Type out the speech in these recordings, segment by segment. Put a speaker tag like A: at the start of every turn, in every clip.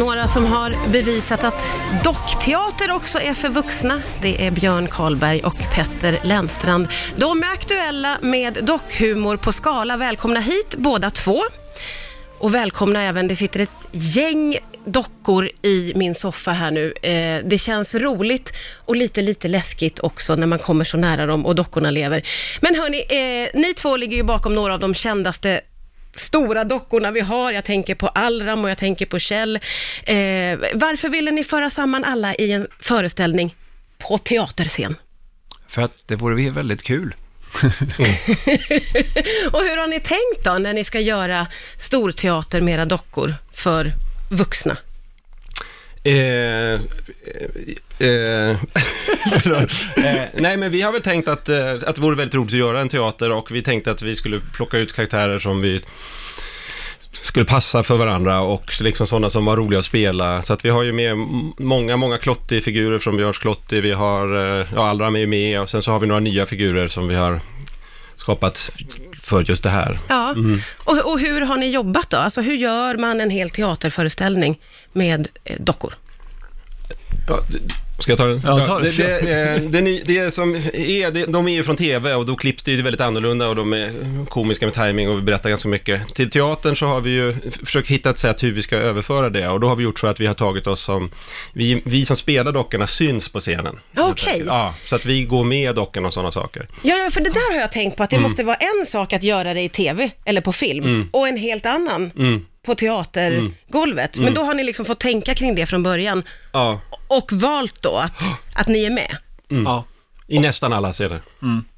A: Några som har bevisat att dockteater också är för vuxna, det är Björn Karlberg och Petter Lennstrand. De är aktuella med dockhumor på skala. Välkomna hit båda två. Och välkomna även, det sitter ett gäng dockor i min soffa här nu. Eh, det känns roligt och lite, lite läskigt också när man kommer så nära dem och dockorna lever. Men hörni, eh, ni två ligger ju bakom några av de kändaste stora dockorna vi har. Jag tänker på Allram och jag tänker på Kjell. Eh, varför ville ni föra samman alla i en föreställning på teaterscen?
B: För att det vore väldigt kul.
A: och hur har ni tänkt då, när ni ska göra storteater med era dockor för vuxna?
C: Eh, eh, eh, förlåt. eh, nej, men vi har väl tänkt att, eh, att det vore väldigt roligt att göra en teater och vi tänkte att vi skulle plocka ut karaktärer som vi skulle passa för varandra och liksom sådana som var roliga att spela. Så att vi har ju med m- många, många Klotti-figurer från Björns Klotti. Vi har, eh, ja, Allram är ju med och sen så har vi några nya figurer som vi har skapat för just det här.
A: Ja, och, och hur har ni jobbat då? Alltså hur gör man en hel teaterföreställning med eh, dockor?
C: Ja, d- Ska jag ta den?
B: Ja, ta den.
C: det, det, eh, det, ny- det som är, det, de är ju från TV och då klipps det ju väldigt annorlunda och de är komiska med timing och vi berättar ganska mycket. Till teatern så har vi ju f- försökt hitta ett sätt hur vi ska överföra det och då har vi gjort så att vi har tagit oss som, vi, vi som spelar dockorna syns på scenen.
A: Okej.
C: Ja, så att vi går med dockorna och sådana saker.
A: Ja, ja, för det där har jag tänkt på,
B: Mm.
A: att det måste vara en sak att göra det i TV eller på film och en helt annan
B: Mm.
A: på teatergolvet. Men då har ni liksom fått tänka kring det från början
C: Ja,
A: och valt då att, att ni är med.
B: Ja.
C: i nästan alla scener.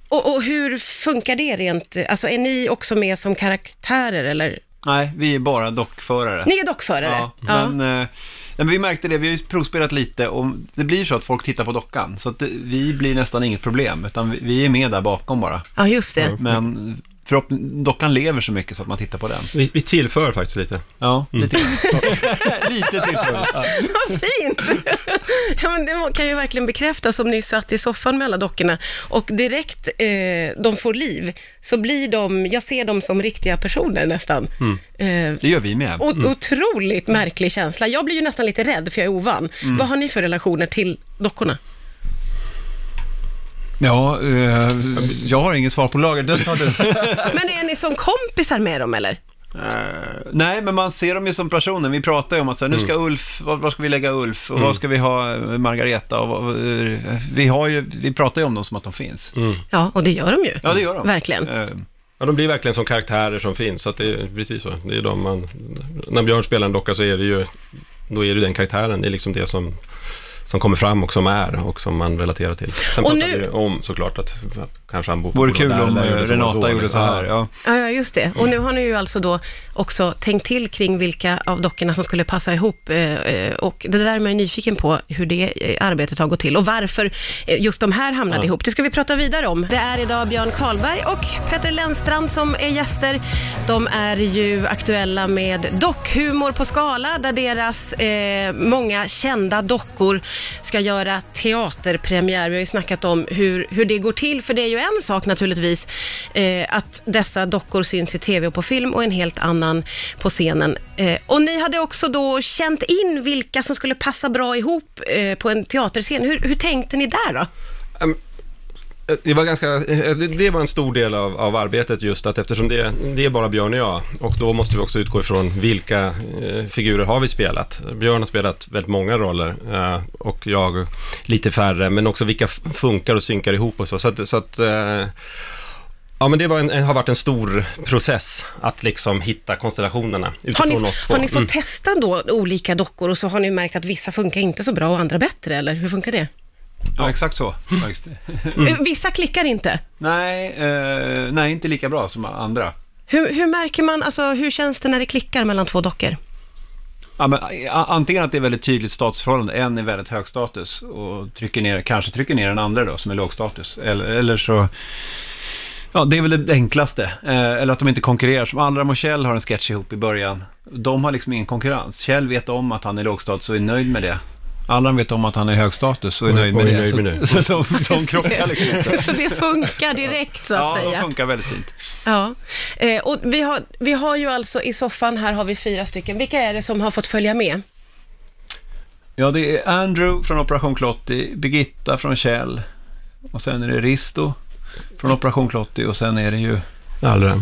A: Och, och hur funkar det rent, alltså är ni också med som karaktärer eller?
B: Nej, vi är bara dockförare.
A: Ni är dockförare?
B: Ja, Men, eh, nej, men vi märkte det, vi har ju provspelat lite och det blir så att folk tittar på dockan. Så att det, vi blir nästan inget problem, utan vi, vi är med där bakom bara.
A: ja just det.
B: Men förhopp- dockan lever så mycket så att man tittar på den.
C: Vi, vi tillför faktiskt lite.
B: Ja, lite Lite till på det. Ja.
A: Vad fint! Ja, men det kan ju verkligen bekräftas som ni satt i soffan med alla dockorna och direkt eh, de får liv så blir de, jag ser dem som riktiga personer nästan.
B: Mm.
A: Eh,
B: Det gör vi med.
A: o- Otroligt märklig känsla. Jag blir ju nästan lite rädd för jag är ovan.
B: Mm.
A: Vad har ni för relationer till dockorna?
B: Ja, eh, jag har inget svar på lager. Det tar du.
A: Men är ni som kompisar med dem eller?
B: Eh, nej, men man ser dem ju som personer. Vi pratar ju om att så här, nu ska Ulf, var, var ska vi lägga Ulf och var ska vi ha eh, Margareta? Och, vad- eh, vi, har ju, vi pratar ju om dem som att de finns.
A: Ja, och det gör de ju.
B: Ja, det gör de.
A: Verkligen.
B: Eh,
C: Ja, de blir verkligen som karaktärer som finns, så att det är precis så. Det är de man, när Björn spelar en docka så är det ju, då är det den karaktären, det är liksom det som, som kommer fram och som är och som man relaterar till. Sen
A: Och
C: pratar
A: nu-
C: vi ju om såklart att att kanske han bor
B: vore
C: bor
B: kul
C: där,
B: om
C: där,
B: eh,
C: gjorde så och
B: Renata gjorde så här. Ja.
A: Ja, ja, just det. Och nu har ni ju alltså då också tänkt till kring vilka av dockorna som skulle passa ihop. eh, eh, Och det där är man ju nyfiken på, hur det eh, arbetet har gått till och varför eh, just de här hamnade ihop. Det ska vi prata vidare om. Det är idag Björn Karlberg och Peter Lennstrand som är gäster. De är ju aktuella med dockhumor på skala, där deras eh, många kända dockor ska göra teaterpremiär. Vi har ju snackat om hur, hur det går till, för det är ju en sak naturligtvis eh, att dessa dockor syns i tv och på film och en helt annan på scenen. Eh, och ni hade också då känt in vilka som skulle passa bra ihop eh, på en teaterscen. Hur, hur tänkte ni där då?
C: Ehm, Det var, ganska, eh, det- det var en stor del av, av arbetet just att eftersom det, det är bara Björn och jag och då måste vi också utgå ifrån vilka eh, figurer har vi spelat. Björn har spelat väldigt många roller eh, och jag lite färre men också vilka f- funkar och synkar ihop och så. så, att, så att, eh, ja men det var en, en, har varit en stor process att liksom hitta konstellationerna
A: Har
C: utifrån
A: ni,
C: oss två.
A: har ni fått
C: Mm.
A: testa då olika dockor och så har ni märkt att vissa funkar inte så bra och andra bättre, eller hur funkar det?
B: ja, exakt så. faktiskt.
C: Mm.
A: Eh, Vissa klickar inte.
B: nej, eh, nej, inte lika bra som andra.
A: Hur, hur märker man, alltså hur känns det när det klickar mellan två dockor?
B: Ja, men, a- antingen att det är väldigt tydligt statusförhållande, en är väldigt hög status och trycker ner, kanske trycker ner den andra då som är låg status. Eller, eller så, ja det är väl det enklaste. Eh, eller att de inte konkurrerar, som Allram och Kjell har en sketch ihop i början. De har liksom ingen konkurrens. Kjell vet om att han är låg status och är nöjd med det. Allram vet om att han är hög status och är
C: Och-
B: nöjd
C: och
B: med
C: är
B: det.
C: nöjd
B: så,
C: med det.
B: så de, de krockar liksom inte.
A: Så det funkar direkt så att
B: Ja, de
A: säga.
B: funkar väldigt fint.
A: Ja. Eh, och vi har, vi har ju alltså i soffan, här har vi fyra stycken. Vilka är det som har fått följa med?
B: Ja, det är Andrew från Operation Klotti, Birgitta från Kjell och sen är det Risto från Operation Klotti och sen är det ju...
C: Allra.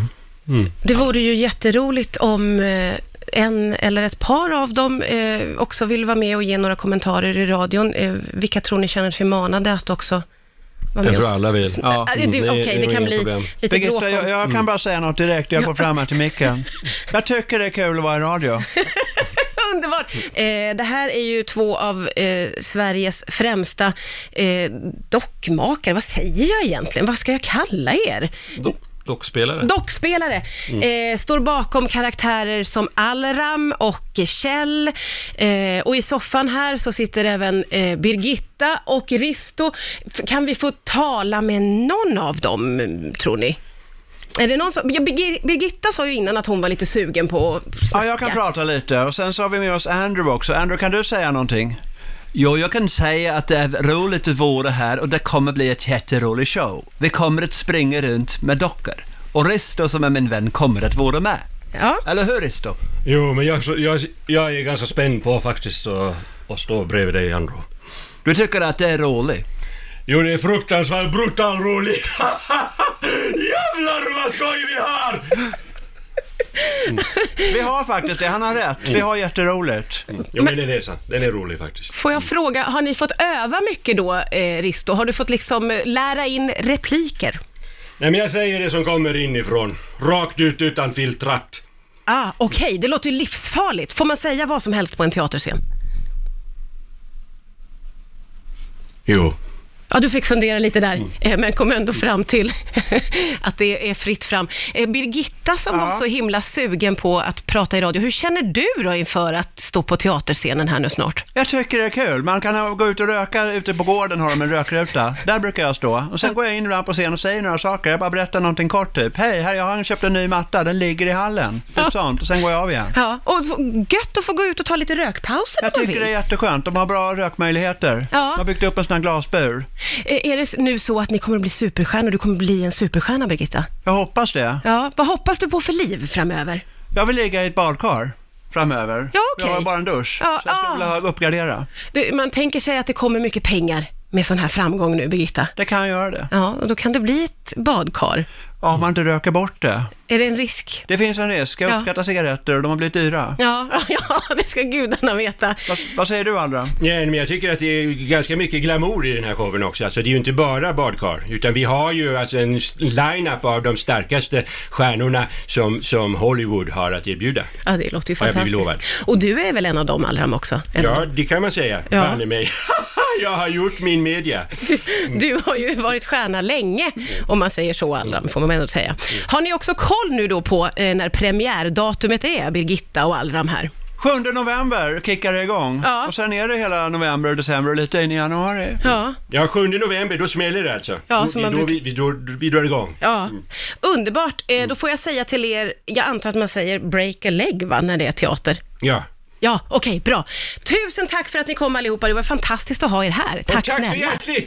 C: Mm.
A: Det vore ju jätteroligt om eh, en eller ett par av dem eh, också vill vara med och ge några kommentarer i radion. Eh, vilka tror ni känner sig manade att också vara med
C: Jag tror
A: och-
C: alla vill.
A: Ja.
C: Mm,
A: det-
C: det-
A: Äh, Okej,
C: det
A: det
C: var
A: kan
C: inga
A: bli
C: problem.
A: lite bråk
B: Birgitta,
A: om
B: jag, jag kan bara säga något direkt. Jag går fram här till micken. Jag tycker det är kul att vara i radio.
A: Underbart! Eh, det här är ju två av eh, Sveriges främsta eh, dockmakare. Vad säger jag egentligen? Vad ska jag kalla er?
C: Do- Dockspelare.
A: Dockspelare. Eh, står bakom karaktärer som Alram och Kjell. Eh, och i soffan här så sitter även eh, Birgitta och Risto. F- kan vi få tala med någon av dem, mm, tror ni? Är det någon som, ja, Birgir- Birgitta sa ju innan att hon var lite sugen på att
B: Ja,
A: snacka.
B: jag kan prata lite. Och sen så har vi med oss Andrew också. Andrew, kan du säga någonting? Jo, jag kan säga att det är roligt att vara här och det kommer bli ett jätterolig show. Vi kommer att springa runt med dockor. Och Risto som är min vän kommer att vara med.
A: Ja.
B: Eller hur Risto?
C: Jo, men jag, jag, jag är ganska spänd på faktiskt att, att stå bredvid dig, Andro.
B: Du tycker att det är roligt?
C: Jo, det är fruktansvärt brutal roligt. Jävlar vad skoj vi har!
B: Vi har faktiskt det, han har rätt. Vi har jätteroligt.
C: Jo, men den är sant. Den är rolig faktiskt.
A: Får jag fråga, har ni fått öva mycket då, eh, Risto? Har du fått liksom eh, lära in repliker?
C: Nej, men jag säger det som kommer inifrån. Rakt ut utan filtrat.
A: Ah, Okej, det låter ju livsfarligt. Får man säga vad som helst på en teaterscen?
C: Jo.
A: Ja, du fick fundera lite där,
B: Mm.
A: eh, men kom ändå fram till att det är fritt fram. Eh, Birgitta som var så himla sugen på att prata i radio, hur känner du då inför att stå på teaterscenen här nu snart?
B: Jag tycker det är kul. Man kan ha- gå ut och röka ute på gården, har de en rökruta. Där brukar jag stå. Och sen går jag in ibland på scen och säger några saker. Jag bara berättar någonting kort typ. Hej, här jag har köpt en ny matta. Den ligger i hallen. Typ sånt. Och sen går jag av igen.
A: Ja, och så gött att få gå ut och ta lite rökpauser
B: Jag
A: om man
B: tycker
A: vill.
B: det är jätteskönt. De har bra rökmöjligheter.
A: Ja.
B: De har byggt upp en sån här glasbur.
A: Eh, Är det nu så att ni kommer att bli superstjärnor? Du kommer att bli en superstjärna, Birgitta?
B: Jag hoppas det.
A: Ja, vad hoppas du på för liv framöver?
B: Jag vill ligga i ett badkar framöver.
A: Ja, okej.
B: Jag har bara en dusch.
A: Ja,
B: så jag skulle
A: ah.
B: vilja uppgradera.
A: Du, man tänker sig att det kommer mycket pengar med sån här framgång nu, Birgitta.
B: Det kan jag göra det.
A: Ja, och då kan det bli ett badkar.
B: Ja, om man inte röker bort det.
A: Är det en risk?
B: Det finns en risk. Jag
A: Ja.
B: uppskattar cigaretter och de har blivit dyra.
A: Ja, ja, det ska gudarna veta.
B: Vad, vad säger du Andra?
C: Nej, men jag tycker att det är ganska mycket glamour i den här showen också. Alltså, det är ju inte bara badkar, utan vi har ju alltså en s- line-up av de starkaste stjärnorna som, som Hollywood har att erbjuda.
A: Ja, det låter ju
C: Ja, jag blir
A: fantastiskt. Och du är väl en av dem, Allram, också? En av
C: Ja, det kan man säga.
A: Ja.
C: Banne mig. jag har gjort min media.
A: Du har ju varit stjärna länge, om man säger så, Allram, får man ändå säga. Har ni också koll nu då på eh, när premiärdatumet är, Birgitta och Allram här?
B: 7 november kickar det igång.
A: Ja.
B: Och sen är det hela november, december och lite in i januari.
A: Ja.
C: Ja, 7 november, då smäller det alltså.
A: Ja,
C: Då-
A: som man
C: då,
A: brukar-
C: vi, vi, då, vi drar igång.
A: Ja, underbart.
C: Mm.
A: Eh, då får jag säga till er, jag antar att man säger break a leg va, när det är teater?
C: Ja.
A: Ja, okej, bra. Tusen tack för att ni kom allihopa, det var fantastiskt att ha er här. Tack,
C: Och tack så
A: snälla.
C: hjärtligt!